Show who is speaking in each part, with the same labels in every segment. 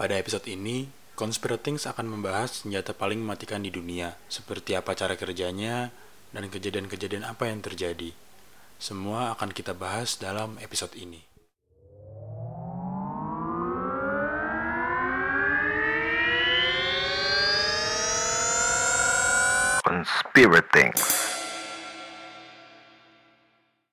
Speaker 1: Pada episode ini, Conspiratings akan membahas senjata paling mematikan di dunia, seperti apa cara kerjanya, dan kejadian-kejadian apa yang terjadi. Semua akan kita bahas dalam episode ini.
Speaker 2: Conspiracy Things.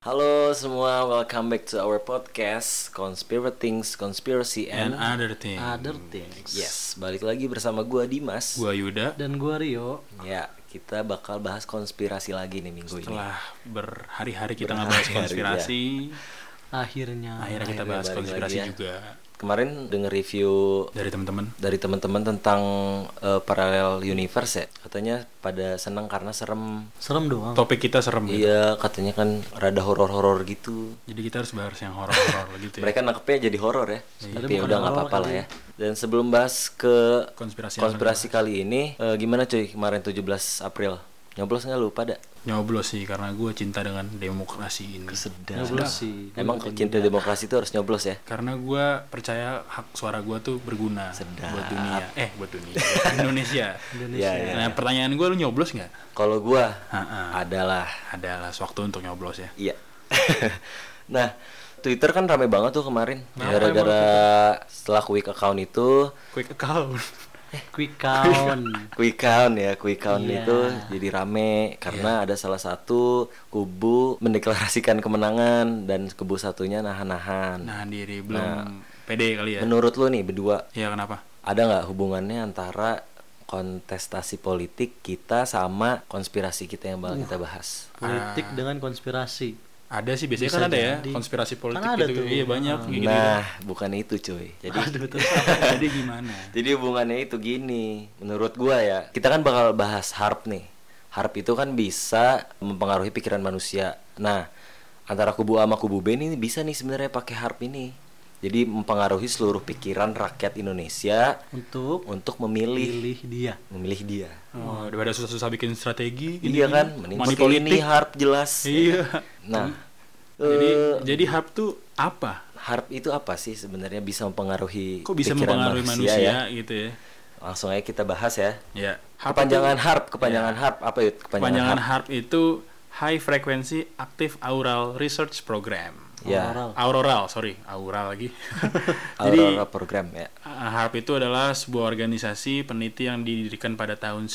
Speaker 3: Halo semua, welcome back to our podcast Conspiratings, Conspiracy
Speaker 1: And
Speaker 3: and,
Speaker 1: other thing,
Speaker 4: Other things.
Speaker 3: Yes, balik lagi bersama gua Dimas.
Speaker 1: gua Yuda,
Speaker 4: Dan gua Rio.
Speaker 3: Ya, kita bakal bahas konspirasi lagi nih minggu ini.
Speaker 1: setelah berhari-hari kita nggak bahas
Speaker 3: Berhari-hari, iya.
Speaker 1: konspirasi,
Speaker 4: Akhirnya.
Speaker 1: akhirnya kita
Speaker 3: Akhirnya
Speaker 1: bahas
Speaker 3: balik
Speaker 1: konspirasi
Speaker 3: lagi ya.
Speaker 1: juga
Speaker 3: Kemarin denger review
Speaker 1: dari teman-teman.
Speaker 3: dari teman-teman tentang eh, parallel universe ya. Katanya pada senang karena serem.
Speaker 4: Serem doang.
Speaker 1: Topik kita serem gitu.
Speaker 3: Iya, katanya kan rada horor-horor gitu.
Speaker 1: Jadi kita harus bahas yang horor-horor gitu ya.
Speaker 3: Mereka nangkepnya jadi horor ya. Tapi
Speaker 4: bukan
Speaker 3: udah nggak
Speaker 4: horor
Speaker 3: apa-apa lah
Speaker 4: kali.
Speaker 3: ya. Dan sebelum bahas ke
Speaker 1: Konspirasi, yang
Speaker 3: konspirasi kali ini, eh, gimana cuy kemarin 17 April? Nyoblos nggak lu pada?
Speaker 1: nyoblos sih karena gua cinta dengan demokrasi ini.
Speaker 3: Sedang.
Speaker 4: Nyoblos sih.
Speaker 3: Emang cinta demokrasi itu harus nyoblos ya?
Speaker 1: karena gue percaya hak suara gue tuh berguna
Speaker 3: Sedap.
Speaker 1: buat dunia eh buat dunia buat Indonesia
Speaker 3: Iya, iya.
Speaker 1: nah pertanyaan gue lu nyoblos nggak
Speaker 3: Kalau gua
Speaker 1: Ha-ha.
Speaker 3: adalah
Speaker 1: adalah waktu untuk nyoblos ya
Speaker 3: iya. nah, Twitter kan rame banget tuh kemarin gara-gara setelah quick account itu
Speaker 1: quick account
Speaker 4: Eh, Quick count.
Speaker 3: Quick count ya, quick count
Speaker 4: Iya.
Speaker 3: itu jadi rame karena ada salah satu kubu mendeklarasikan kemenangan dan kubu satunya nahan-nahan.
Speaker 1: nah diri belum pede kali ya
Speaker 3: Menurut lu nih berdua
Speaker 1: Iya kenapa
Speaker 3: ada nggak hubungannya antara kontestasi politik kita sama konspirasi kita yang bakal kita bahas?
Speaker 4: Politik dengan konspirasi.
Speaker 1: ada sih biasanya
Speaker 4: Bisa
Speaker 1: kan ada ya
Speaker 4: jadi.
Speaker 1: konspirasi politik
Speaker 4: Kan ada
Speaker 1: gitu
Speaker 4: tuh.
Speaker 1: iya banyak kayak gitu.
Speaker 3: Nah, bukan itu cuy. Jadi
Speaker 4: Aduh, terus
Speaker 1: jadi gimana
Speaker 3: Jadi hubungannya itu gini, menurut gua ya, kita kan bakal bahas harp nih. Harp itu kan bisa mempengaruhi pikiran manusia. Nah, antara kubu A sama kubu B ini bisa nih sebenarnya pakai harp ini. Jadi mempengaruhi seluruh pikiran rakyat Indonesia
Speaker 4: untuk
Speaker 3: untuk memilih
Speaker 4: pilih dia.
Speaker 3: memilih dia.
Speaker 1: oh, daripada susah-susah bikin strategi gini,
Speaker 3: iya kan?
Speaker 1: gini.
Speaker 3: Mending
Speaker 1: money
Speaker 3: pakai ini
Speaker 1: politik
Speaker 3: harp jelas.
Speaker 1: iya
Speaker 3: Nah,
Speaker 1: jadi
Speaker 3: eh,
Speaker 1: jadi harp tuh apa
Speaker 3: harp itu apa sih sebenarnya bisa mempengaruhi
Speaker 1: kok bisa
Speaker 3: pikiran
Speaker 1: mempengaruhi manusia,
Speaker 3: ya?
Speaker 1: gitu ya
Speaker 3: Langsung aja kita bahas ya.
Speaker 1: ya Harp tuh-
Speaker 3: Kepanjangan harp, kepanjangan harp apa yuk?
Speaker 1: Kepanjangan HARP itu High Frequency Active Aural Research Program.
Speaker 3: Ya.
Speaker 4: Oral.
Speaker 1: Auroral, sorry, aural lagi. Jadi
Speaker 3: Aurora program ya.
Speaker 1: uh, HARP itu adalah sebuah organisasi peneliti yang didirikan pada tahun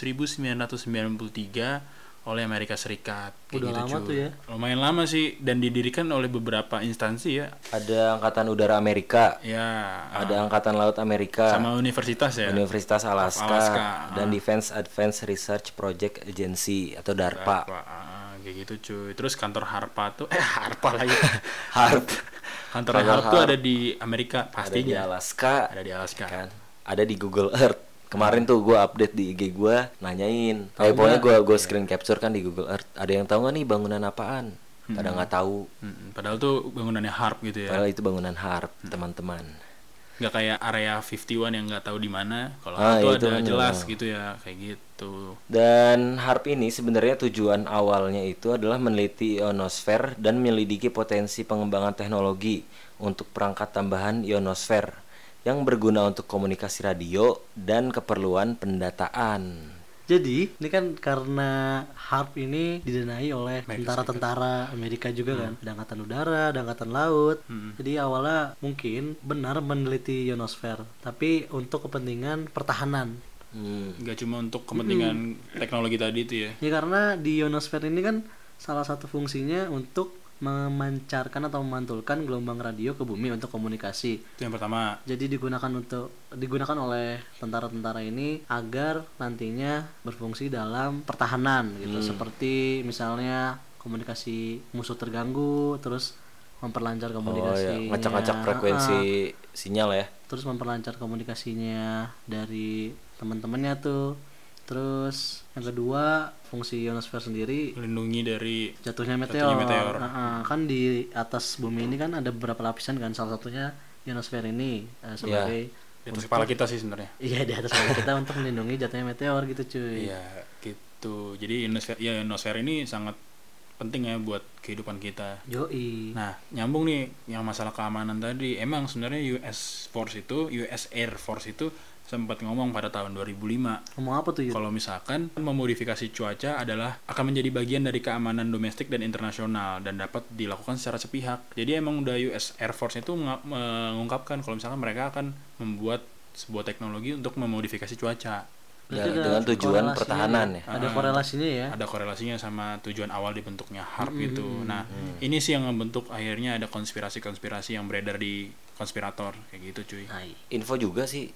Speaker 1: 1993 oleh Amerika Serikat. gitu,
Speaker 4: Udah lama
Speaker 1: cuy.
Speaker 4: tuh ya.
Speaker 1: Lumayan lama sih dan didirikan oleh beberapa instansi ya.
Speaker 3: Ada angkatan udara Amerika,
Speaker 1: Ya, uh,
Speaker 3: ada angkatan laut Amerika,
Speaker 1: sama universitas ya.
Speaker 3: Universitas Alaska,
Speaker 1: Alaska, Ah.
Speaker 3: dan Defense Advanced Research Project Agency atau DARPA.
Speaker 1: Apa, uh, kayak gitu cuy. Terus kantor HARPA tuh eh HARPA lagi.
Speaker 3: Harp
Speaker 1: kantor HARP tuh ada di Amerika
Speaker 3: ada di
Speaker 1: pastinya.
Speaker 3: Alaska,
Speaker 1: Ada di Alaska.
Speaker 3: kan? Ada di Google Earth. Kemarin tuh gue update di IG gue, nanyain. eh, pokoknya gue gue screen capture kan di Google Earth. Ada yang tahu nggak nih bangunan apaan? Pada nggak tahu.
Speaker 1: Mm, padahal tuh bangunannya harp gitu ya.
Speaker 3: Padahal itu bangunan harp, teman-teman.
Speaker 1: Nggak kayak area 51 yang nggak tahu di mana. Kalau itu
Speaker 3: Ah, iya, itu
Speaker 1: ada
Speaker 3: kan
Speaker 1: jelas gitu ya, kayak gitu.
Speaker 3: Dan HARP ini sebenarnya tujuan awalnya itu adalah meneliti ionosfer dan menyelidiki potensi pengembangan teknologi untuk perangkat tambahan ionosfer yang berguna untuk komunikasi radio dan keperluan pendataan.
Speaker 4: Jadi ini kan karena harp ini didanai oleh tentara-tentara Amerika juga kan, ada angkatan udara, ada angkatan laut. Jadi awalnya mungkin benar meneliti ionosfer, tapi untuk kepentingan pertahanan.
Speaker 3: Hmm.
Speaker 1: Nggak cuma untuk kepentingan teknologi tadi itu ya.
Speaker 4: Ya karena di ionosfer ini kan salah satu fungsinya untuk memancarkan atau memantulkan gelombang radio ke bumi untuk komunikasi.
Speaker 1: Itu yang pertama.
Speaker 4: Jadi digunakan untuk digunakan oleh tentara-tentara ini agar nantinya berfungsi dalam pertahanan gitu.
Speaker 3: Hmm.
Speaker 4: Seperti misalnya komunikasi musuh terganggu, terus
Speaker 3: Oh
Speaker 4: memperlancar Ah,
Speaker 3: ya,
Speaker 4: komunikasi,
Speaker 3: ngacak-ngacak frekuensi sinyal ya.
Speaker 4: terus memperlancar komunikasinya dari teman-temannya tuh. Terus yang kedua, fungsi ionosfer sendiri
Speaker 1: Melindungi dari
Speaker 4: jatuhnya meteor,
Speaker 1: Jatuhnya meteor.
Speaker 4: Ah, ah. kan di atas bumi ini kan ada beberapa lapisan kan salah satunya ionosfer ini
Speaker 1: Iya.
Speaker 4: eh, sebagai
Speaker 1: di atas kepala kita sih sebenarnya.
Speaker 4: iya di atas bumi kita untuk melindungi jatuhnya meteor gitu cuy
Speaker 1: Iya, gitu. Jadi ionosfer, ya, ionosfer ini sangat penting ya buat kehidupan kita.
Speaker 4: Yoi.
Speaker 1: Nah, nyambung nih yang masalah keamanan tadi. Emang sebenarnya US Force itu, US Air Force itu sempat ngomong pada tahun 2005
Speaker 4: Ngomong apa tuh Yud?
Speaker 1: kalau misalkan memodifikasi cuaca adalah akan menjadi bagian dari keamanan domestik dan internasional dan dapat dilakukan secara sepihak. Jadi emang udah US Air Force itu menga- mengungkapkan kalau misalkan mereka akan membuat sebuah teknologi untuk memodifikasi cuaca.
Speaker 3: Dan-
Speaker 4: Berarti ada
Speaker 3: Ya, dengan tujuan
Speaker 4: korelasinya
Speaker 3: pertahanan ya.
Speaker 4: Ada korelasinya ya.
Speaker 1: Ah. ada korelasinya sama tujuan awal dibentuknya HARP itu. Nah, ini sih yang membentuk akhirnya ada konspirasi-konspirasi yang beredar di konspirator kayak gitu, cuy.
Speaker 4: Nah,
Speaker 3: info juga sih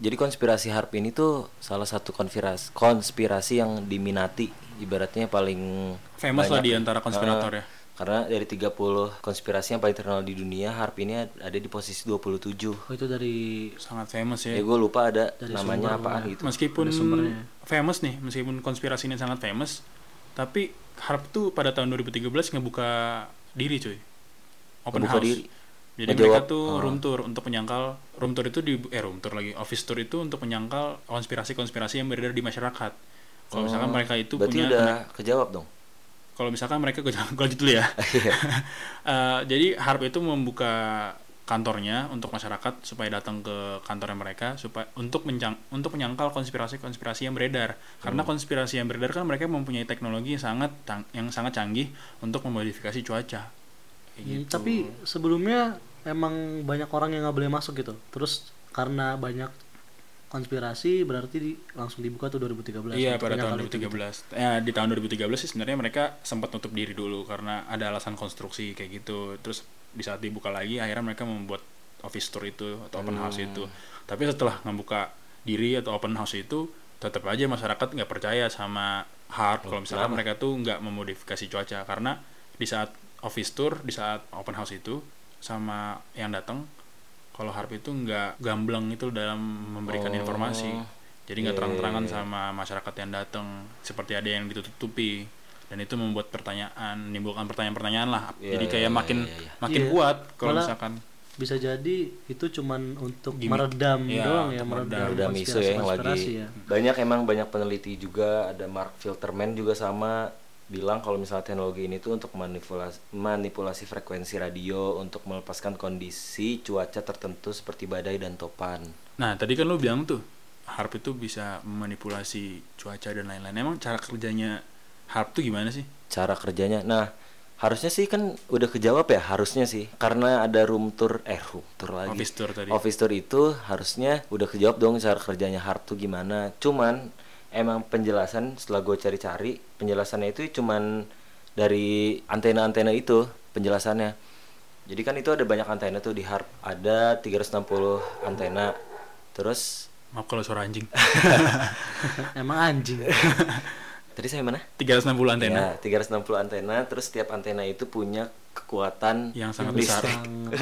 Speaker 3: jadi konspirasi harp ini tuh salah satu konspirasi konspirasi yang diminati ibaratnya paling
Speaker 1: Famous lah
Speaker 3: banyak.
Speaker 1: di antara konspirator ya.
Speaker 3: karena dari 30 konspirasi yang paling terkenal di dunia harp ini ada di posisi 27
Speaker 4: oh, itu dari
Speaker 1: Sangat famous ya.
Speaker 3: ya gue lupa ada namanya apaan gitu
Speaker 1: Meskipun
Speaker 4: Ada sumbernya.
Speaker 1: famous nih, meskipun konspirasi ini sangat famous, tapi HARP tuh pada tahun 2013 ngebuka diri, cuy. Open
Speaker 3: Ngebuka
Speaker 1: house.
Speaker 3: diri.
Speaker 1: Jadi mereka
Speaker 3: Ngejawab,
Speaker 1: tuh
Speaker 3: ah.
Speaker 1: room tour untuk menyangkal room tour itu di eh room tour lagi office tour itu untuk menyangkal konspirasi-konspirasi yang beredar di masyarakat. Kalau misalkan mereka itu
Speaker 3: Oh. berarti
Speaker 1: punya
Speaker 3: udah kejawab dong
Speaker 1: kalau misalkan mereka gue gue lanjut dulu ya.
Speaker 4: Iya.
Speaker 1: Eh, jadi Harp itu membuka kantornya untuk masyarakat supaya datang ke kantornya mereka supaya untuk menjang, untuk menyangkal konspirasi-konspirasi yang beredar. Karena
Speaker 4: Hmm.
Speaker 1: konspirasi yang beredar kan mereka mempunyai teknologi yang sangat tang- yang sangat canggih untuk memodifikasi cuaca. Kayak
Speaker 4: Hmm,
Speaker 1: gitu.
Speaker 4: Tapi sebelumnya emang banyak orang yang nggak boleh masuk gitu. Terus karena banyak konspirasi berarti di- langsung dibuka tuh 2013.
Speaker 1: Iya pada
Speaker 4: Untuk gitu. banyak
Speaker 1: tahun
Speaker 4: hal itu.
Speaker 1: 2013. Eh, di tahun 2013 sih sebenarnya mereka sempat nutup diri dulu karena ada alasan konstruksi kayak gitu. Terus di saat dibuka lagi akhirnya mereka membuat office tour itu atau open house itu. Tapi setelah membuka diri atau open house itu tetap aja masyarakat nggak percaya sama hard kalau misalnya mereka tuh nggak memodifikasi cuaca karena di saat office tour di saat open house itu sama yang datang kalau harp itu nggak gamblang itu dalam memberikan informasi jadi nggak terang-terangan sama masyarakat yang datang seperti ada yang ditutup-tutupi dan itu membuat pertanyaan menimbulkan pertanyaan-pertanyaan lah jadi kayak makin makin
Speaker 4: Iya.
Speaker 1: kuat kalau
Speaker 4: Malah-
Speaker 1: misalkan
Speaker 4: Bisa jadi itu cuman untuk
Speaker 1: Gimik.
Speaker 4: meredam
Speaker 1: Iya,
Speaker 4: doang ya,
Speaker 1: untuk
Speaker 4: meredam,
Speaker 1: meredam.
Speaker 3: udah miso ya yang
Speaker 4: konspirasi-konspirasi
Speaker 3: lagi
Speaker 4: ya.
Speaker 3: banyak emang banyak peneliti juga ada Mark Filterman juga sama bilang kalau misalnya teknologi ini tuh untuk manipulasi manipulasi frekuensi radio untuk melepaskan kondisi cuaca tertentu seperti badai dan topan
Speaker 1: nah tadi kan lu bilang tuh harp itu bisa manipulasi cuaca dan lain-lain emang cara kerjanya harp tuh gimana sih
Speaker 3: cara kerjanya nah harusnya sih kan udah kejawab ya harusnya sih karena ada room tour eh room tour lagi
Speaker 1: Office tour tadi.
Speaker 3: office tour itu harusnya udah kejawab dong cara kerjanya harp tuh gimana cuman emang penjelasan setelah gue cari-cari penjelasannya itu cuman dari antena-antena itu penjelasannya jadi kan itu ada banyak antena tuh di harp ada 360 antena terus
Speaker 1: maaf kalau suara anjing
Speaker 4: Emang anjing.
Speaker 3: tadi saya mana
Speaker 1: 360 antena
Speaker 3: Ya, 360 antena, terus setiap antena itu punya kekuatan
Speaker 1: Yang sangat
Speaker 3: listrik.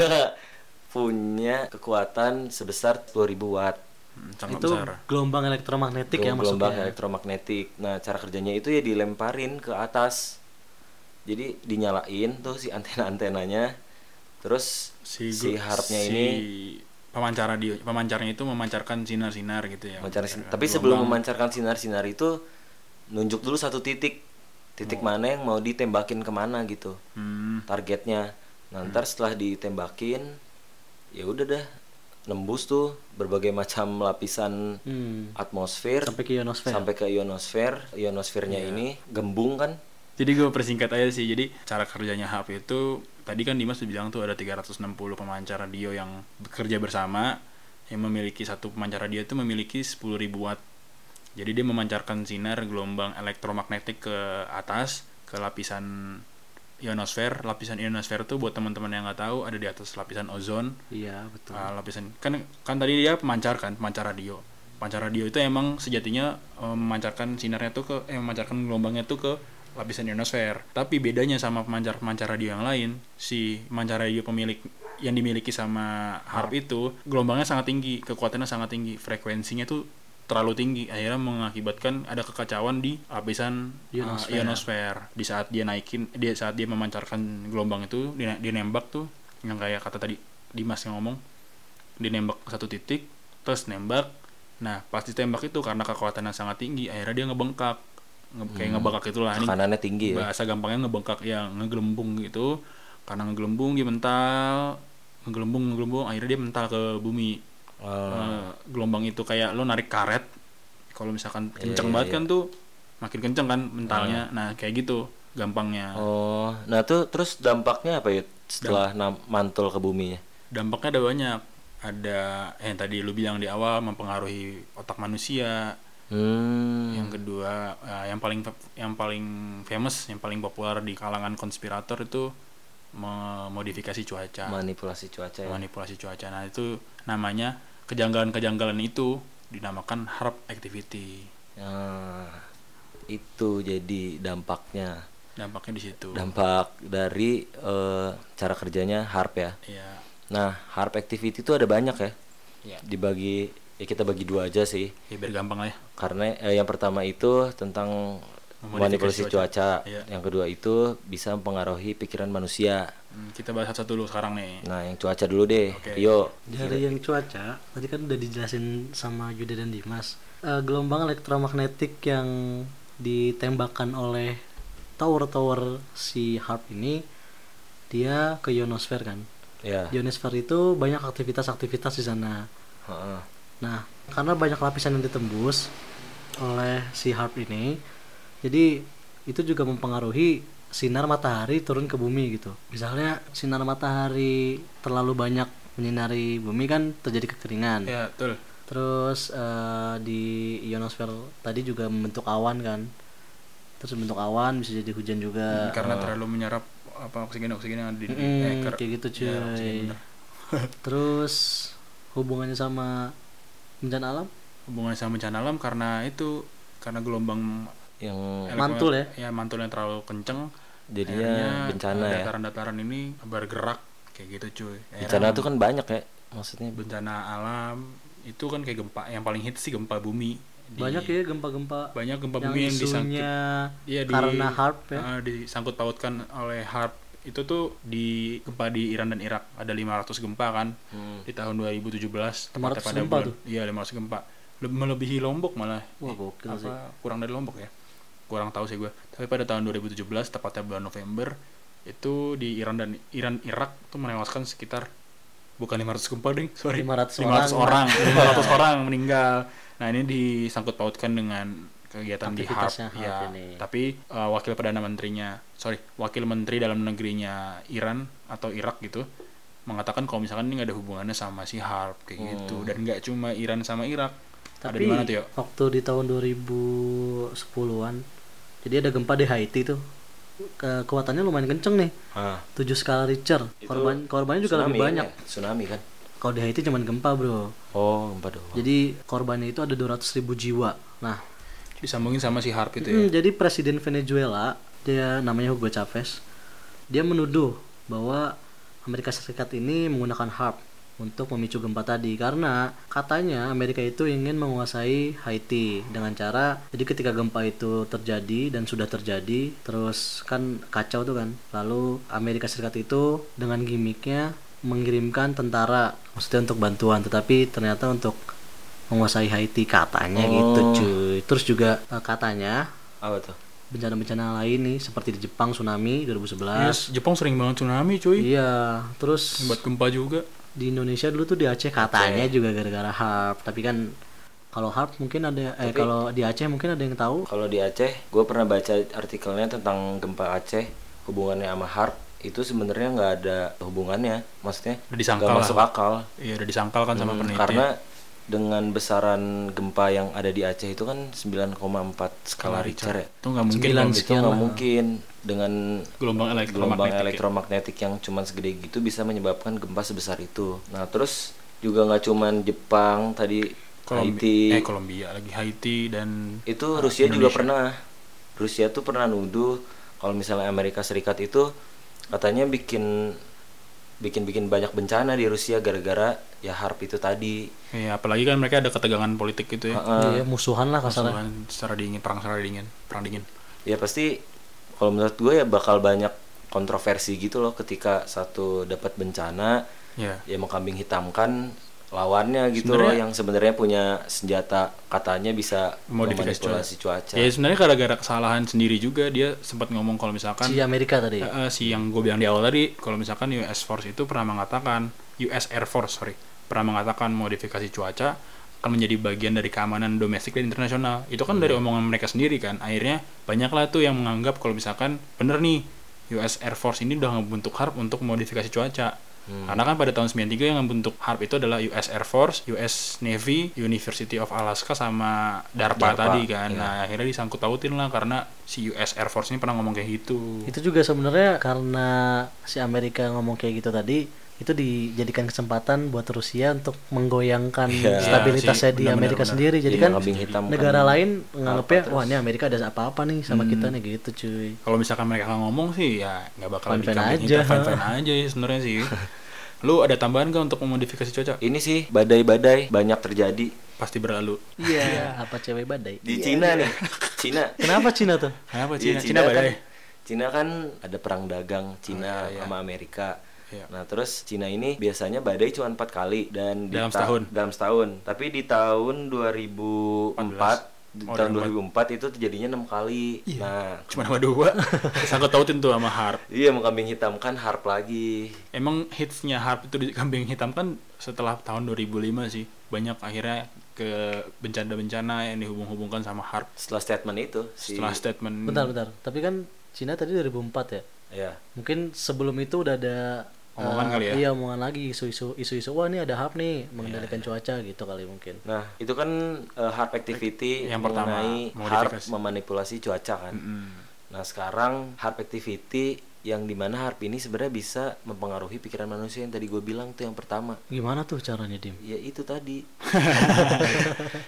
Speaker 3: punya kekuatan sebesar 10.000 watt.
Speaker 1: Hmm, sangat
Speaker 4: itu
Speaker 1: besar
Speaker 4: gelombang elektromagnetik ya
Speaker 3: gelombang
Speaker 4: maksudnya.
Speaker 3: elektromagnetik. Nah, cara kerjanya itu ya dilemparin ke atas. Jadi dinyalain tuh si antena-antenanya. Terus si,
Speaker 1: glu-
Speaker 3: harpnya
Speaker 1: si
Speaker 3: ini
Speaker 1: pemancar radio pemancarnya itu memancarkan sinar-sinar gitu ya
Speaker 3: memancar sin-
Speaker 1: Memancarkan
Speaker 3: tapi sebelum
Speaker 1: gelombang.
Speaker 3: memancarkan sinar-sinar itu nunjuk dulu satu titik.
Speaker 1: Oh.
Speaker 3: Titik mana yang mau ditembakin kemana gitu.
Speaker 1: Hmm.
Speaker 3: targetnya. Nah, ntar setelah ditembakin, ya udah dah nembus tuh berbagai macam lapisan
Speaker 4: Hmm.
Speaker 3: atmosfer
Speaker 4: Sampai ke ionosfer.
Speaker 3: sampai ke ionosfer. Ionosfernya ini gembung kan?
Speaker 1: Jadi gue persingkat aja sih. Jadi cara kerjanya HP itu tadi kan Dimas bilang tuh ada 360 pemancar radio yang bekerja bersama yang memiliki satu pemancar radio itu memiliki 10.000 watt. Jadi dia memancarkan sinar gelombang elektromagnetik ke atas ke lapisan ionosfer. Lapisan ionosfer tuh buat teman-teman yang nggak tahu ada di atas lapisan ozon.
Speaker 4: Iya, betul.
Speaker 1: Ah, lapisan kan kan tadi dia pemancar kan pemancar radio pemancar radio itu emang sejatinya eh, memancarkan sinarnya tuh ke eh, memancarkan gelombangnya tuh ke lapisan ionosfer tapi bedanya sama pemancar pemancar radio yang lain si pemancar radio pemilik yang dimiliki sama harp itu gelombangnya sangat tinggi kekuatannya sangat tinggi frekuensinya tuh terlalu tinggi akhirnya mengakibatkan ada kekacauan di lapisan eh,
Speaker 4: Ionosfer.
Speaker 1: ionosfer di saat dia naikin dia saat dia memancarkan gelombang itu dia, dia nembak tuh yang kayak kata tadi Dimas yang ngomong dia nembak ke satu titik terus nembak nah pas ditembak itu karena kekuatannya sangat tinggi akhirnya dia ngebengkak Nge- kayak ngebengkak itulah ini
Speaker 3: Tekanannya Hmm, tinggi ya.
Speaker 1: bahasa gampangnya ngebengkak ya ngegelembung gitu karena ngegelembung dia mental ngegelembung ngegelembung akhirnya dia mental ke bumi
Speaker 3: Oh.
Speaker 1: Eh, gelombang itu kayak lo narik karet kalau misalkan
Speaker 3: Iya,
Speaker 1: kenceng banget kan tuh makin kenceng kan mentalnya nah kayak gitu gampangnya
Speaker 3: Oh, nah tuh terus dampaknya apa ya setelah nam- mantul ke buminya?
Speaker 1: dampaknya ada banyak ada eh, yang tadi lu bilang di awal mempengaruhi otak manusia
Speaker 3: Hmm.
Speaker 1: yang kedua eh, yang paling yang paling famous yang paling populer di kalangan konspirator itu memodifikasi cuaca
Speaker 3: Manipulasi cuaca ya.
Speaker 1: manipulasi cuaca nah itu namanya kejanggalan-kejanggalan itu dinamakan harp activity
Speaker 3: Ah, itu jadi dampaknya.
Speaker 1: dampaknya di situ
Speaker 3: Dampak dari eh, cara kerjanya harp ya.
Speaker 1: ya
Speaker 3: Nah, harp activity itu ada banyak ya.
Speaker 1: Iya.
Speaker 3: Dibagi ya kita bagi dua aja sih.
Speaker 1: ya biar gampang lah ya
Speaker 3: Karena eh, yang pertama itu tentang
Speaker 1: Memodifikasi
Speaker 3: manipulasi cuaca.
Speaker 1: Iya.
Speaker 3: Yang kedua itu bisa mempengaruhi pikiran manusia.
Speaker 1: Hmm, kita bahas satu-satu dulu sekarang nih
Speaker 3: Nah, yang cuaca dulu
Speaker 1: Iya.
Speaker 3: deh.
Speaker 1: Oke.
Speaker 3: Rio.
Speaker 4: Dari yang cuaca, tadi kan udah dijelasin sama Yuda dan Dimas. Eh, gelombang elektromagnetik yang ditembakkan oleh tower-tower si harp ini, dia ke ionosfer kan.
Speaker 3: Ya.
Speaker 4: Ionosfer itu banyak aktivitas-aktivitas di sana.
Speaker 3: Heeh.
Speaker 4: Nah, karena banyak lapisan yang ditembus oleh si harp ini, jadi itu juga mempengaruhi sinar matahari turun ke bumi gitu. Misalnya sinar matahari terlalu banyak menyinari bumi kan terjadi kekeringan.
Speaker 1: ya betul
Speaker 4: Terus eh, di ionosfer tadi juga membentuk awan kan. Terus membentuk awan bisa jadi hujan
Speaker 1: Hmm,
Speaker 4: juga.
Speaker 1: karena terlalu menyerap apa oksigen oksigen yang ada di
Speaker 4: Eh, Mm-mm,
Speaker 1: eh, ker-
Speaker 4: kayak gitu cuy.
Speaker 1: ya, oksigen, bener.
Speaker 4: Terus hubungannya sama bencana alam?
Speaker 1: hubungan sama bencana alam karena itu karena gelombang
Speaker 3: Yang
Speaker 1: elektro-
Speaker 4: Mantul ya?
Speaker 1: ya mantul yang terlalu kenceng
Speaker 3: jadinya
Speaker 1: akhirnya eh,
Speaker 3: bencana ya.
Speaker 1: dataran-dataran ini bergerak kayak gitu cuy
Speaker 3: Bencana
Speaker 1: Akhirnya
Speaker 3: tuh kan banyak ya. Maksudnya
Speaker 1: bencana alam itu kan kayak gempa yang paling hits sih gempa bumi Di-
Speaker 4: Banyak ya gempa-gempa
Speaker 1: banyak gempa
Speaker 4: yang
Speaker 1: bumi yang disangkut
Speaker 4: isunya
Speaker 1: Iya, di-
Speaker 4: karena harp ya.
Speaker 1: eh, disangkut pautkan oleh harp itu tuh di gempa di Iran dan Irak ada 500 gempa kan di tahun 2017 tepatnya
Speaker 4: 500 gempa
Speaker 1: bulan-
Speaker 4: tuh?
Speaker 1: iya 500 gempa Leb- melebihi Lombok malah
Speaker 4: Wah, gokil
Speaker 1: Apa,
Speaker 4: sih.
Speaker 1: kurang dari Lombok ya kurang tahu sih gue tapi pada tahun 2017 tepatnya bulan November itu di Iran dan Iran Irak tuh menewaskan sekitar bukan 500 gempa ding sorry
Speaker 4: 500
Speaker 1: orang 500 orang meninggal nah ini disangkut pautkan dengan kegiatan di harp
Speaker 4: Aktivitasnya HARP
Speaker 1: ya
Speaker 4: ini.
Speaker 1: tapi eh, wakil perdana menterinya sorry wakil menteri dalam negerinya Iran atau Irak gitu mengatakan kalau misalkan ini nggak ada hubungannya sama si harp kayak gitu dan nggak cuma Iran sama Irak ada
Speaker 4: Tapi
Speaker 1: di mana tuh ya? yuk
Speaker 4: waktu di tahun 2010-an jadi ada gempa di Haiti tuh. Ke- Kekuatannya lumayan kenceng nih.
Speaker 3: ah,
Speaker 4: 7 skala Richter. Korban korbannya juga
Speaker 3: tsunami
Speaker 4: lebih
Speaker 3: kan
Speaker 4: banyak.
Speaker 3: ya? Tsunami kan.
Speaker 4: Kalau di Haiti cuman gempa, Bro.
Speaker 3: Oh, gempa doang.
Speaker 4: Jadi korbannya itu ada 200.000 jiwa. Nah,
Speaker 1: disambungin sama si harp itu ya
Speaker 4: Hmm, jadi presiden Venezuela dia namanya Hugo Chavez dia menuduh bahwa Amerika Serikat ini menggunakan HARP untuk memicu gempa tadi karena katanya Amerika itu ingin menguasai Haiti dengan cara jadi ketika gempa itu terjadi dan sudah terjadi terus kan kacau tuh kan lalu Amerika Serikat itu dengan gimmicknya mengirimkan tentara maksudnya untuk bantuan tetapi ternyata untuk menguasai Haiti katanya gitu
Speaker 1: Oh.
Speaker 4: cuy terus juga eh, katanya
Speaker 3: Apa tuh?
Speaker 4: bencana-bencana lain nih seperti di Jepang tsunami 2011
Speaker 1: Yes, Jepang sering banget tsunami cuy
Speaker 4: iya terus
Speaker 1: buat gempa juga
Speaker 4: di Indonesia dulu tuh di Aceh katanya juga gara-gara harp tapi kan kalau harp mungkin ada eh kalau di Aceh mungkin ada yang tahu
Speaker 3: Kalau di Aceh, gue pernah baca artikelnya tentang gempa Aceh, hubungannya sama harp itu sebenarnya nggak ada hubungannya, maksudnya
Speaker 1: Udah disangkal
Speaker 3: nggak
Speaker 1: lah.
Speaker 3: masuk akal.
Speaker 1: iya udah disangkal kan sama
Speaker 3: Hmm,
Speaker 1: peneliti
Speaker 3: karena dengan besaran gempa yang ada di Aceh itu kan 9,4 skala Richter ya.
Speaker 1: itu nggak mungkin
Speaker 4: Sembilan
Speaker 1: dong,
Speaker 3: Itu
Speaker 4: sekian
Speaker 3: nggak
Speaker 4: lah.
Speaker 3: mungkin dengan
Speaker 1: gelombang
Speaker 3: gelombang
Speaker 1: eh, elektromagnetik ya.
Speaker 3: elektromagnetik yang cuman segede gitu bisa menyebabkan gempa sebesar itu. Nah terus juga nggak cuman Jepang tadi Haiti Iya.
Speaker 1: Kolombi- eh Kolombia lagi Haiti dan
Speaker 3: itu Rusia juga pernah Rusia tuh pernah nuduh kalau misalnya Amerika Serikat itu katanya bikin bikin bikin banyak bencana di Rusia gara-gara ya harp itu tadi
Speaker 1: ya apalagi kan mereka ada ketegangan politik gitu ya
Speaker 4: Iya, musuhan lah kasarnya
Speaker 1: Perang secara dingin perang secara dingin perang dingin
Speaker 3: ya pasti kalau menurut gue ya bakal banyak kontroversi gitu loh ketika satu dapat bencana
Speaker 1: ya
Speaker 3: ya mengkambing hitamkan lawannya gitu loh yang sebenarnya punya senjata katanya bisa
Speaker 1: Modifikasi
Speaker 3: memanipulasi cuaca.
Speaker 1: Ya sebenarnya gara-gara kesalahan sendiri juga dia sempat ngomong kalau misalkan
Speaker 4: si Amerika tadi
Speaker 1: Eh, eh, si yang gue bilang di awal tadi kalau misalkan US Force itu pernah mengatakan US Air Force sorry pernah mengatakan modifikasi cuaca akan menjadi bagian dari keamanan domestik dan internasional itu kan
Speaker 4: Iya.
Speaker 1: dari omongan mereka sendiri kan akhirnya banyaklah tuh yang menganggap kalau misalkan bener nih US Air Force ini udah ngebentuk HARP untuk modifikasi cuaca
Speaker 4: Hmm.
Speaker 1: karena kan pada tahun 93 yang membentuk HARP itu adalah US Air Force, US Navy, University of Alaska sama DARPA,
Speaker 3: DARPA,
Speaker 1: tadi kan.
Speaker 3: iya.
Speaker 1: Nah, akhirnya disangkut pautin lah karena si US Air Force ini pernah ngomong kayak gitu.
Speaker 4: itu juga sebenarnya karena si Amerika ngomong kayak gitu tadi itu dijadikan kesempatan buat Rusia untuk menggoyangkan
Speaker 3: Iya.
Speaker 1: Iya
Speaker 4: stabilitasnya
Speaker 1: sih,
Speaker 4: di
Speaker 1: benar-benar,
Speaker 4: Amerika
Speaker 1: benar. Iya,
Speaker 4: sendiri jadi
Speaker 3: Jadi
Speaker 4: kan
Speaker 3: kambing hitam kan
Speaker 4: negara lain nganggapnya
Speaker 3: terus.
Speaker 4: wah ini Amerika ada apa-apa nih sama kita
Speaker 1: Hmm.
Speaker 4: nih gitu cuy
Speaker 1: kalau misalkan mereka nggak ngomong sih ya nggak bakalan
Speaker 4: Fine-fine
Speaker 1: dikambing
Speaker 4: aja.
Speaker 1: hitam fan aja ya sebenarnya sih lu ada tambahan gak untuk memodifikasi cuaca
Speaker 3: Ini sih badai-badai banyak terjadi
Speaker 1: pasti berlalu
Speaker 4: iya apa cewek badai
Speaker 3: di Cina nih. Cina.
Speaker 4: kenapa Cina tuh
Speaker 1: kenapa Cina ya?
Speaker 3: Iya,
Speaker 1: Cina
Speaker 3: kan,
Speaker 1: badai Oh,
Speaker 3: Cina kan ada perang dagang Cina sama Amerika.
Speaker 1: Iya.
Speaker 3: Nah terus Cina ini biasanya badai cuma empat kali dan di
Speaker 1: Dalam
Speaker 3: ta-
Speaker 1: setahun.
Speaker 3: Dalam setahun. Tapi di tahun 2004 di
Speaker 1: Oh, Iya.
Speaker 3: tahun 2004 itu terjadinya enam kali. Nah
Speaker 1: cuma nama dua sangkut tautin tuh sama harp
Speaker 3: iya mau kambing hitam kan harp lagi.
Speaker 1: emang hitsnya harp itu di kambing hitam kan setelah tahun 2005 sih banyak akhirnya ke bencana-bencana yang dihubung-hubungkan sama harp
Speaker 3: Setelah statement itu si
Speaker 1: setelah statement
Speaker 4: bentar bentar tapi kan Cina tadi 2004 ya
Speaker 3: ya
Speaker 4: mungkin sebelum itu udah ada
Speaker 1: Omongan
Speaker 4: eh,
Speaker 1: kali ya?
Speaker 4: iya omongan lagi isu-isu isu-isu wah ini ada hub nih
Speaker 1: Iya.
Speaker 4: mengendalikan cuaca gitu kali mungkin
Speaker 3: Nah, itu kan uh, hard activity
Speaker 1: Yang pertama,
Speaker 3: mengenai hard
Speaker 1: modifikasi.
Speaker 3: memanipulasi cuaca kan.
Speaker 1: Mm.
Speaker 3: Nah, sekarang hard activity yang dimana harp ini sebenarnya bisa mempengaruhi pikiran manusia yang tadi gue bilang tuh yang pertama
Speaker 4: gimana tuh caranya dim
Speaker 3: ya itu tadi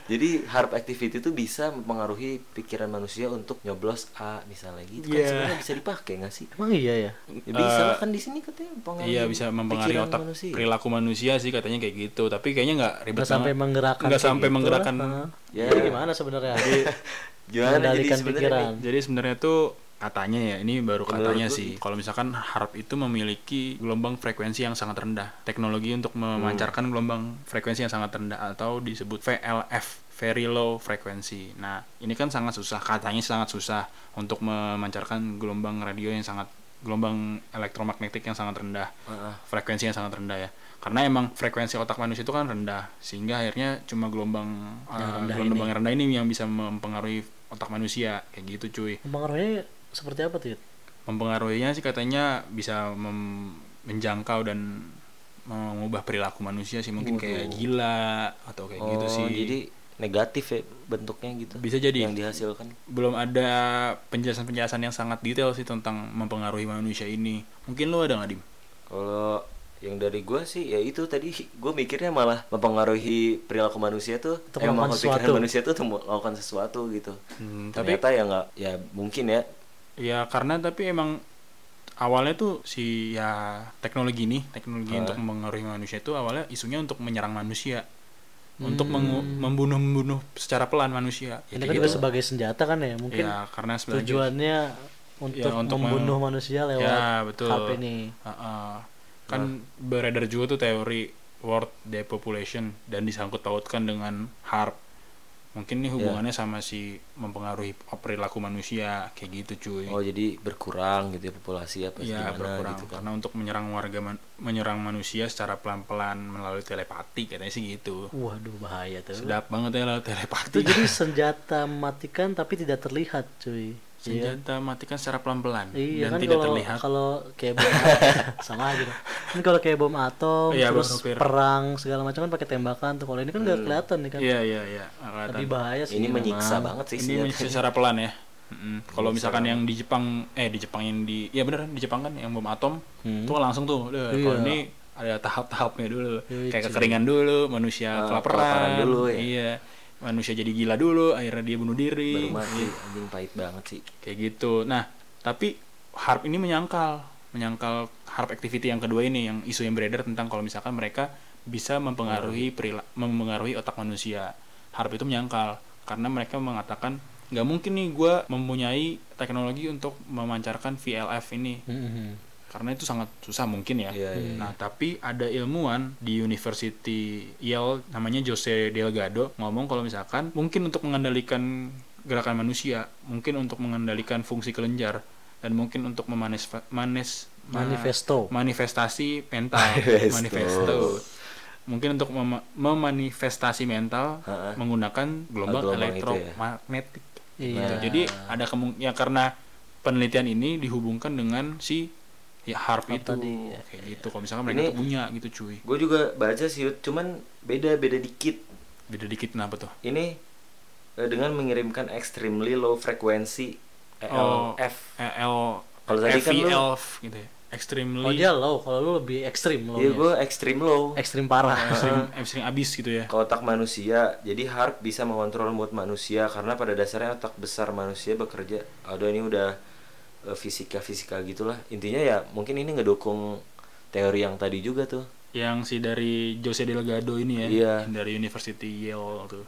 Speaker 3: jadi harp activity itu bisa mempengaruhi pikiran manusia untuk nyoblos a misalnya gitu kan
Speaker 1: Iya. Eh,
Speaker 3: sebenarnya bisa dipakai nggak sih
Speaker 4: emang iya ya
Speaker 3: ya, bisa lah kan di sini katanya mempengaruhi
Speaker 1: Iya bisa mempengaruhi
Speaker 3: pikiran
Speaker 1: otak
Speaker 3: manusia.
Speaker 1: perilaku manusia sih katanya kayak gitu tapi kayaknya nggak ribet
Speaker 4: nggak sampai
Speaker 1: banget.
Speaker 4: menggerakkan
Speaker 1: nggak
Speaker 4: kayak
Speaker 1: sampai
Speaker 4: gitu
Speaker 1: menggerakkan
Speaker 4: lah.
Speaker 3: Ya.
Speaker 4: Jadi gimana sebenarnya
Speaker 3: gimana jadi
Speaker 4: mengendalikan
Speaker 3: sebenarnya
Speaker 4: pikiran
Speaker 1: Jadi sebenarnya tuh katanya ya, ini baru katanya
Speaker 3: gua
Speaker 1: sih. Kalau misalkan harp itu memiliki gelombang frekuensi yang sangat rendah, teknologi untuk memancarkan gelombang frekuensi yang sangat rendah atau disebut VLF, very low frequency. Nah, ini kan sangat susah, katanya sangat susah untuk memancarkan gelombang radio yang sangat gelombang elektromagnetik yang sangat rendah, frekuensi yang sangat rendah ya. Karena emang frekuensi otak manusia itu kan rendah, sehingga akhirnya cuma gelombang eh,
Speaker 4: rendah
Speaker 1: gelombang rendah ini yang bisa mempengaruhi otak manusia kayak gitu cuy
Speaker 4: pengaruhnya seperti apa tuh Yud?
Speaker 1: mempengaruhinya sih katanya bisa mem- menjangkau dan mengubah perilaku manusia sih mungkin kayak gila atau kayak gitu
Speaker 3: oh
Speaker 1: sih
Speaker 3: jadi negatif ya bentuknya gitu
Speaker 1: bisa jadi
Speaker 3: yang dihasilkan
Speaker 1: belum ada penjelasan-penjelasan yang sangat detail sih tentang mempengaruhi manusia ini mungkin lo ada nggak dim
Speaker 3: kalau yang dari gua sih ya itu tadi gue mikirnya malah mempengaruhi perilaku manusia tuh
Speaker 4: Untuk
Speaker 3: eh,
Speaker 4: melakukan
Speaker 3: melakukan pikiran
Speaker 4: sesuatu.
Speaker 3: manusia tuh untuk melakukan sesuatu gitu
Speaker 1: Hmm, tapi-
Speaker 3: ternyata ya nggak ya mungkin ya
Speaker 1: ya karena tapi emang awalnya tuh si ya teknologi ini teknologi untuk mempengaruhi manusia itu awalnya isunya untuk menyerang manusia untuk
Speaker 3: Hmm.
Speaker 1: mengu- membunuh membunuh secara pelan manusia
Speaker 4: ini kan juga sebagai senjata kan ya mungkin
Speaker 1: ya karena sebagai-
Speaker 4: tujuannya untuk,
Speaker 1: Ya, untuk
Speaker 4: membunuh
Speaker 1: mem-
Speaker 4: manusia lewat
Speaker 1: Ya, betul.
Speaker 4: HP ini
Speaker 1: Heeh. kan beredar juga tuh teori world depopulation dan disangkut pautkan dengan harp mungkin
Speaker 4: Iya.
Speaker 1: nih hubungannya sama si mempengaruhi perilaku manusia kayak gitu cuy
Speaker 4: iya,
Speaker 3: oh jadi berkurang gitu ya populasi apa
Speaker 1: ya
Speaker 3: gimana
Speaker 1: berkurang
Speaker 3: gitu kan
Speaker 1: karena untuk menyerang warga man- menyerang manusia secara pelan-pelan melalui telepati katanya sih gitu
Speaker 4: waduh bahaya tuh
Speaker 1: sedap banget ya lewat
Speaker 4: Iya. itu
Speaker 1: telepati
Speaker 4: jadi senjata mematikan tapi tidak terlihat cuy Iya.
Speaker 1: senjata matikan secara pelan-pelan
Speaker 4: Iya
Speaker 1: dan
Speaker 4: kan
Speaker 1: tidak
Speaker 4: kalau
Speaker 1: terlihat
Speaker 4: kalau kayak bom sama aja dong. Kan kalau kayak bom atom
Speaker 1: Iya, bom
Speaker 4: terus
Speaker 1: nuklir.
Speaker 4: perang segala macam kan pakai tembakan tuh. Kalau ini kan nggak kelihatan nih kan.
Speaker 1: iya iya iya
Speaker 4: Lebih
Speaker 1: kelihatan.
Speaker 4: bahaya sih.
Speaker 3: ini menyiksa
Speaker 4: memang.
Speaker 3: banget sih
Speaker 1: iya,
Speaker 3: Iya,
Speaker 1: ini
Speaker 3: senjata.
Speaker 1: secara pelan ya Mm-mm. kalau misalkan yang di Jepang eh di Jepang yang di ya bener di Jepang kan yang bom atom
Speaker 3: Hmm.
Speaker 1: tuh langsung tuh Duh, kalau
Speaker 3: Iya.
Speaker 1: ini ada tahap-tahapnya dulu kayak kekeringan dulu manusia
Speaker 3: Ah, kelaparan
Speaker 1: kelaparan
Speaker 3: dulu ya.
Speaker 1: iya manusia jadi gila dulu akhirnya dia bunuh diri
Speaker 3: baru mati
Speaker 1: Iya.
Speaker 3: anjing pahit banget sih
Speaker 1: kayak gitu nah tapi harp ini menyangkal menyangkal harp activity yang kedua ini yang isu yang beredar tentang kalau misalkan mereka bisa mempengaruhi perila- mempengaruhi otak manusia harp itu menyangkal karena mereka mengatakan nggak mungkin nih gue mempunyai teknologi untuk memancarkan VLF ini
Speaker 4: Mhm.
Speaker 1: karena itu sangat susah mungkin ya.
Speaker 3: Iya, iya,
Speaker 1: Nah, tapi ada ilmuwan di University Yale namanya Jose Delgado ngomong kalau misalkan mungkin untuk mengendalikan gerakan manusia, mungkin untuk mengendalikan fungsi kelenjar dan mungkin untuk memanis manis ma-
Speaker 4: Manifesto.
Speaker 1: manifestasi mental
Speaker 3: Oh. Manifesto.
Speaker 1: manifesto mungkin untuk mema- memanifestasi mental
Speaker 3: Ha-ha.
Speaker 1: menggunakan gelombang,
Speaker 3: Gelombang itu ya.
Speaker 1: elektromagnetik gitu.
Speaker 4: Iya.
Speaker 1: jadi ada kemung ya karena penelitian ini dihubungkan dengan si ya harp itu
Speaker 4: tadi,
Speaker 1: kayak gitu kalau misalkan mereka
Speaker 3: Ini-
Speaker 1: tuh punya gitu cuy
Speaker 3: Gue juga baca sih, Yud, cuman beda-beda dikit.
Speaker 1: beda dikit kenapa tuh
Speaker 3: Ini eh, dengan mengirimkan extremely low frequency
Speaker 1: Oh.
Speaker 3: ELF.
Speaker 1: E- L
Speaker 3: Kalau tadi kan lu- Oh,
Speaker 1: FELF gitu ya extremely
Speaker 4: Kalau Oh, dia low, kalau lu lebih ekstrim low.
Speaker 3: Iya, gue extreme low.
Speaker 4: Ekstrim parah.
Speaker 1: extreme, extreme abis gitu ya
Speaker 3: Ke otak manusia, jadi harp bisa mengontrol mood manusia karena pada dasarnya otak besar manusia bekerja. Aduh ini udah eh, fisika-fisika gitulah. Intinya ya mungkin ini ngedukung teori yang tadi juga tuh.
Speaker 1: yang si dari Jose Delgado ini ya
Speaker 3: Iya.
Speaker 1: yang dari University Yale tuh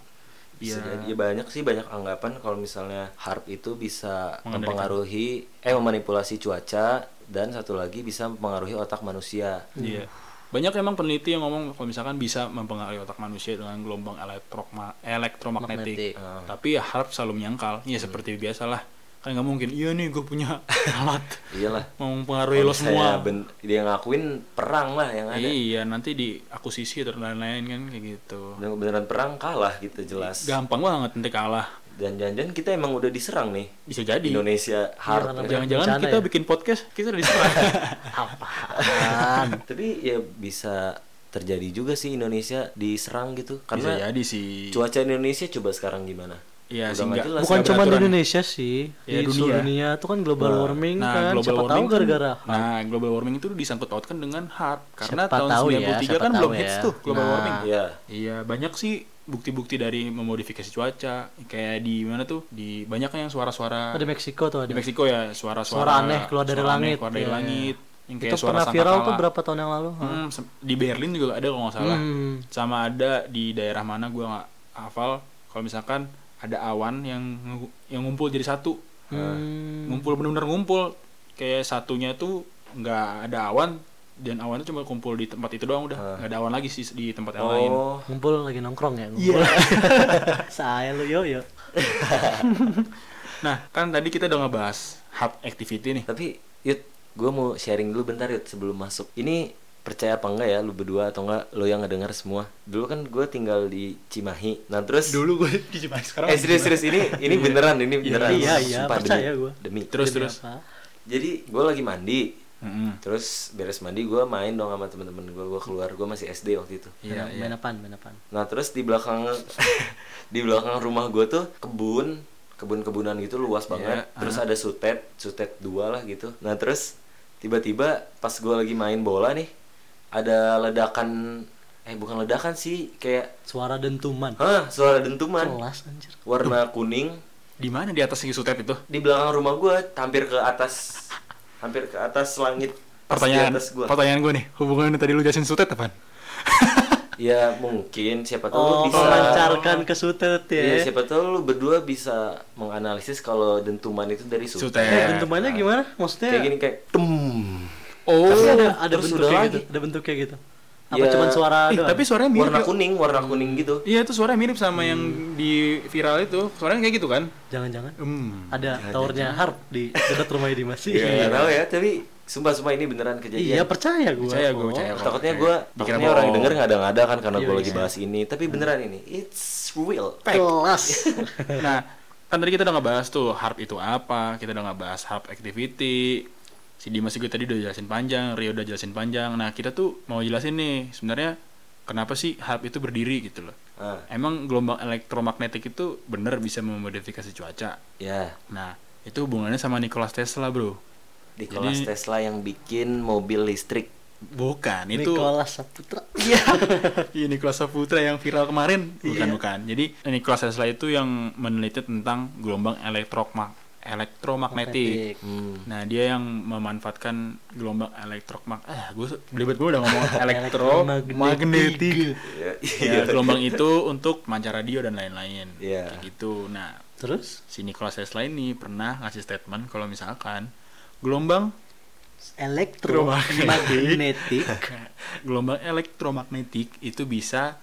Speaker 3: Bisa jadi.
Speaker 1: iya
Speaker 3: Ya, banyak sih banyak anggapan kalau misalnya harp itu bisa
Speaker 1: Mengendalikan.
Speaker 3: mempengaruhi eh memanipulasi cuaca dan satu lagi bisa mempengaruhi otak manusia.
Speaker 1: iya banyak emang peneliti yang ngomong kalau misalkan bisa mempengaruhi otak manusia dengan gelombang elektroma- elektromagnetik
Speaker 4: Magnetik.
Speaker 1: tapi ya harap selalu menyangkal ya seperti biasalah kan nggak mungkin iya nih gue punya alat
Speaker 3: Iyalah.
Speaker 1: mau mempengaruhi lo
Speaker 3: Kalau misalnya
Speaker 1: semua
Speaker 3: ben- dia ngakuin perang lah yang ada.
Speaker 1: iya nanti di akuisisi dan lain-lain kan kayak gitu
Speaker 3: Bener- Beneran perang kalah gitu jelas.
Speaker 1: gampang banget nanti kalah
Speaker 3: Dan jangan-jangan kita emang udah diserang nih.
Speaker 1: bisa jadi
Speaker 3: Indonesia
Speaker 1: Iya,
Speaker 3: harp.
Speaker 4: karena
Speaker 3: ya.
Speaker 1: jangan-jangan
Speaker 4: Bencana
Speaker 1: kita
Speaker 4: ya?
Speaker 1: bikin podcast kita diserang
Speaker 4: Apaan?
Speaker 3: Tapi ya bisa terjadi juga sih Indonesia diserang gitu
Speaker 1: bisa
Speaker 3: karena
Speaker 1: jadi sih
Speaker 3: cuaca Indonesia coba sekarang gimana?
Speaker 1: Iya
Speaker 3: Udah
Speaker 1: sih,
Speaker 3: nggak
Speaker 1: nggak-
Speaker 3: jelas. kan?
Speaker 4: Bukan
Speaker 1: nggak
Speaker 4: cuma di
Speaker 1: beraturan.
Speaker 4: Indonesia sih,
Speaker 1: Ya,
Speaker 4: di
Speaker 1: dunia.
Speaker 4: seluruh dunia itu kan global warming kan. siapa tahu
Speaker 1: kan-
Speaker 4: gara-gara
Speaker 1: nah global warming itu disangkut pautkan dengan harp karena
Speaker 4: Siapa
Speaker 1: tahun
Speaker 4: tahu ya,
Speaker 1: 93
Speaker 4: siapa
Speaker 1: kan belum
Speaker 4: tahu
Speaker 1: hits
Speaker 4: ya.
Speaker 1: tuh global
Speaker 4: Nah.
Speaker 1: warming
Speaker 3: Iya.
Speaker 1: iya banyak sih bukti-bukti dari memodifikasi cuaca kayak di mana tuh di banyak yang suara-suara
Speaker 4: ada Meksiko tuh ada.
Speaker 1: di Meksiko ya suara-suara
Speaker 4: Suara aneh keluar dari
Speaker 1: suara aneh
Speaker 4: langit.
Speaker 1: keluar dari
Speaker 4: Iya.
Speaker 1: langit yang kayak
Speaker 4: itu
Speaker 1: suara
Speaker 4: pernah viral tuh
Speaker 1: sangkakala.
Speaker 4: berapa tahun yang lalu? Hah?
Speaker 1: Hmm, sem- di Berlin juga ada kalau nggak salah
Speaker 4: Hmm.
Speaker 1: sama ada di daerah mana gue nggak hafal kalau misalkan ada awan yang ngu- yang ngumpul jadi satu
Speaker 4: Hmm.
Speaker 1: ngumpul benar-benar ngumpul kayak satunya tuh nggak ada awan dan awannya cuma kumpul di tempat itu doang udah nggak ada awan lagi sih di tempat yang lain
Speaker 3: Ah. Oh,
Speaker 4: Ngumpul lagi nongkrong ya. Ngumpul.
Speaker 1: Iya.
Speaker 4: Saya lu yo yo.
Speaker 1: nah kan tadi kita udah ngebahas hub activity nih
Speaker 3: Tapi Yud, gue mau sharing dulu bentar Yud sebelum masuk. Ini percaya apa enggak ya lu berdua atau enggak lo yang ngedengar semua? Dulu kan gue tinggal di Cimahi. Nah terus
Speaker 1: dulu gue di Cimahi sekarang
Speaker 3: eh serius serius ini ini beneran ini beneran.
Speaker 4: Iya, iya,
Speaker 3: Sumpah,
Speaker 4: percaya
Speaker 3: demi-
Speaker 4: gua.
Speaker 3: Demi.
Speaker 1: terus
Speaker 4: Demi
Speaker 1: terus
Speaker 4: apa?
Speaker 3: Jadi gue lagi mandi.
Speaker 1: Mm-mm.
Speaker 3: Terus beres mandi gue main dong sama temen-temen gue. Gue keluar gue masih SD waktu itu.
Speaker 1: Iya,
Speaker 4: Main-
Speaker 1: iya.
Speaker 4: Main apaan? Main apaan?
Speaker 3: Nah terus di belakang di belakang rumah gue tuh kebun kebun-kebunan gitu luas banget.
Speaker 1: Iya,
Speaker 3: terus ada sutet sutet dua lah gitu. Nah terus tiba-tiba pas gue lagi main bola nih ada ledakan eh bukan ledakan sih kayak
Speaker 4: Suara dentuman.
Speaker 3: hah suara dentuman
Speaker 4: Kelas anjir.
Speaker 3: warna kuning
Speaker 1: di mana di atas si sutep itu
Speaker 3: di belakang rumah gue hampir ke atas hampir ke atas langit pas di
Speaker 1: pertanyaan
Speaker 3: atas gua.
Speaker 1: pertanyaan gue nih hubungannya tadi lu jelasin sutet apaan
Speaker 3: ya mungkin siapa tahu lu
Speaker 4: Oh,
Speaker 3: bisa
Speaker 4: memancarkan ke sutet
Speaker 3: Iya,
Speaker 4: ya.
Speaker 3: siapa tahu lu berdua bisa menganalisis kalau dentuman itu dari sutet.
Speaker 1: Sutet.
Speaker 4: Eh, dentumannya gimana?
Speaker 3: Kayak
Speaker 4: Maksudnya
Speaker 3: gini kayak tem.
Speaker 1: oh
Speaker 4: Tapi ada ada
Speaker 3: terus
Speaker 4: bentuknya
Speaker 3: udah
Speaker 4: gitu.
Speaker 3: lagi.
Speaker 4: Ada bentuknya gitu. Apa
Speaker 3: Ya.
Speaker 4: cuman suara
Speaker 1: Ih,
Speaker 4: doang?
Speaker 1: Eh, tapi suaranya mirip
Speaker 3: Warna
Speaker 1: ya.
Speaker 3: kuning, warna kuning gitu.
Speaker 1: Iya itu suaranya mirip sama yang
Speaker 3: Hmm.
Speaker 1: di viral itu Suaranya kayak gitu kan
Speaker 4: Jangan-jangan
Speaker 1: Hmm
Speaker 4: ada towernya harp di dekat rumahnya Dimas.
Speaker 3: Iya, nggak tahu ya, tapi sumpah-sumpah ini beneran kejadian.
Speaker 4: Iya percaya gue.
Speaker 1: Percaya gue percaya kok.
Speaker 3: Takutnya gue,
Speaker 1: Dikira
Speaker 3: takutnya orang
Speaker 1: bohong.
Speaker 3: denger nggak ada ngada kan karena
Speaker 4: Iya,
Speaker 3: gue
Speaker 4: iya.
Speaker 3: lagi bahas ini. Tapi
Speaker 1: Hmm.
Speaker 3: beneran ini, it's real.
Speaker 4: Kelas.
Speaker 1: Nah kan tadi kita udah ngebahas tuh harp itu apa Kita udah ngebahas harp activity Si Dimas juga tadi udah jelasin panjang Rio udah jelasin panjang Nah kita tuh mau jelasin nih sebenarnya Kenapa sih harp itu berdiri gitu loh
Speaker 3: Ah,
Speaker 1: Emang gelombang elektromagnetik itu bener bisa memodifikasi cuaca
Speaker 3: ya,
Speaker 1: Nah itu hubungannya sama Nikola Tesla bro
Speaker 3: di kelas
Speaker 1: Jadi-
Speaker 3: Tesla yang bikin mobil listrik.
Speaker 1: Bukan itu
Speaker 4: Nikola Saputra.
Speaker 1: Iya Nikola Saputra yang viral kemarin bukan bukan jadi Nikola Tesla itu yang meneliti tentang gelombang elektromag
Speaker 4: Iya.
Speaker 1: elektromagnetik
Speaker 3: Hmm.
Speaker 1: nah dia yang memanfaatkan gelombang elektromag eh gue belibet gue udah ngomong
Speaker 4: Elektromagnetik.
Speaker 1: elektromagnetik ya gelombang itu untuk mancar radio dan lain-lain
Speaker 3: Iya.
Speaker 1: kayak gitu nah
Speaker 4: Terus?
Speaker 1: si Nikola Tesla ini pernah ngasih statement kalau misalkan gelombang
Speaker 4: elektromagnetik
Speaker 1: Gelombang elektromagnetik itu bisa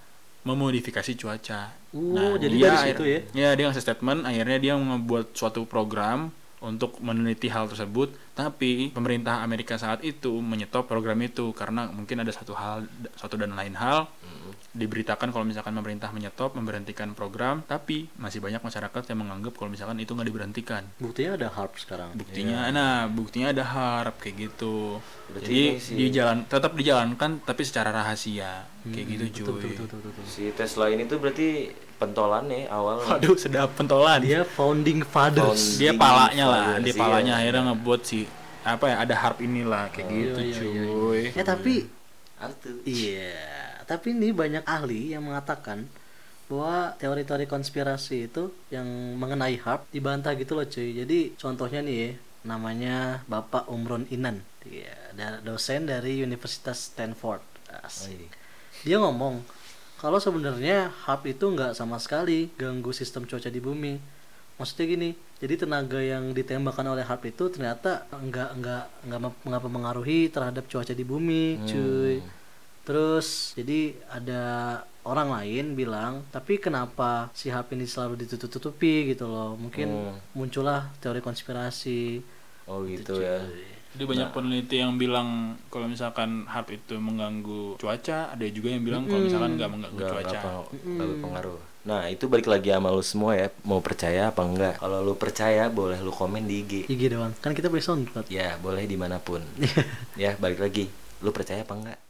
Speaker 1: memodifikasi cuaca. Nah,
Speaker 4: Uh, jadi
Speaker 1: dia
Speaker 4: dari situ
Speaker 1: akhir- Ya, dia ngasih statement akhirnya dia membuat suatu program untuk meneliti hal tersebut, tapi pemerintah Amerika saat itu menyetop program itu karena mungkin ada satu hal satu dan lain hal
Speaker 4: Hmm.
Speaker 1: diberitakan kalau misalkan pemerintah menyetop memberhentikan program, tapi masih banyak masyarakat yang menganggap kalau misalkan itu nggak diberhentikan.
Speaker 4: buktinya ada harp sekarang
Speaker 1: Buktinya,
Speaker 3: Iya.
Speaker 1: nah buktinya ada harap kayak gitu.
Speaker 3: Berarti ini sih-
Speaker 1: Jadi dijalan tetap dijalankan tapi secara rahasia kayak gitu cuy.
Speaker 3: Hmm, Si Tesla ini tuh berarti pentolannya awalnya.
Speaker 1: Waduh, sedap pentolan. Dia
Speaker 4: dia founding fathers
Speaker 1: dia palanya lah,
Speaker 3: Founding
Speaker 1: dia
Speaker 3: fathers,
Speaker 1: palanya
Speaker 3: iya.
Speaker 1: akhirnya ngebuat si apa ya ada harp inilah
Speaker 3: Oh,
Speaker 1: kayak gitu
Speaker 3: iya.
Speaker 1: cuy.
Speaker 4: ya tapi
Speaker 3: Atuh.
Speaker 4: Iya, tapi ini banyak ahli yang mengatakan bahwa teori-teori konspirasi itu yang mengenai HARP dibantah gitu loh cuy. Jadi contohnya nih ya, namanya Bapak Umron Inan. Dia da- dosen dari Universitas Stanford. Asik. Dia ngomong kalau sebenarnya HARP itu nggak sama sekali ganggu sistem cuaca di bumi. Maksudnya gini, jadi tenaga yang ditembakkan oleh HARP itu ternyata nggak nggak nggak mem- nggak mempengaruhi terhadap cuaca di bumi, cuy. Terus jadi ada orang lain bilang, tapi kenapa si HP ini selalu ditutup-tutupi gitu loh? Mungkin muncullah teori konspirasi.
Speaker 3: Oh gitu ya.
Speaker 1: Jadi banyak peneliti yang bilang kalau misalkan harp itu mengganggu cuaca, ada juga yang bilang kalau misalkan nggak mengganggu
Speaker 3: Nggak
Speaker 1: cuaca.
Speaker 3: nggak peng- nggak berpengaruh. Hmm. Nah itu balik lagi sama lu semua ya. Mau percaya apa enggak? Kalau lu percaya boleh lu komen di IG.
Speaker 4: IG doang. Kan kita punya SoundCloud.
Speaker 3: Ya boleh dimanapun. ya balik lagi. Lu percaya apa enggak?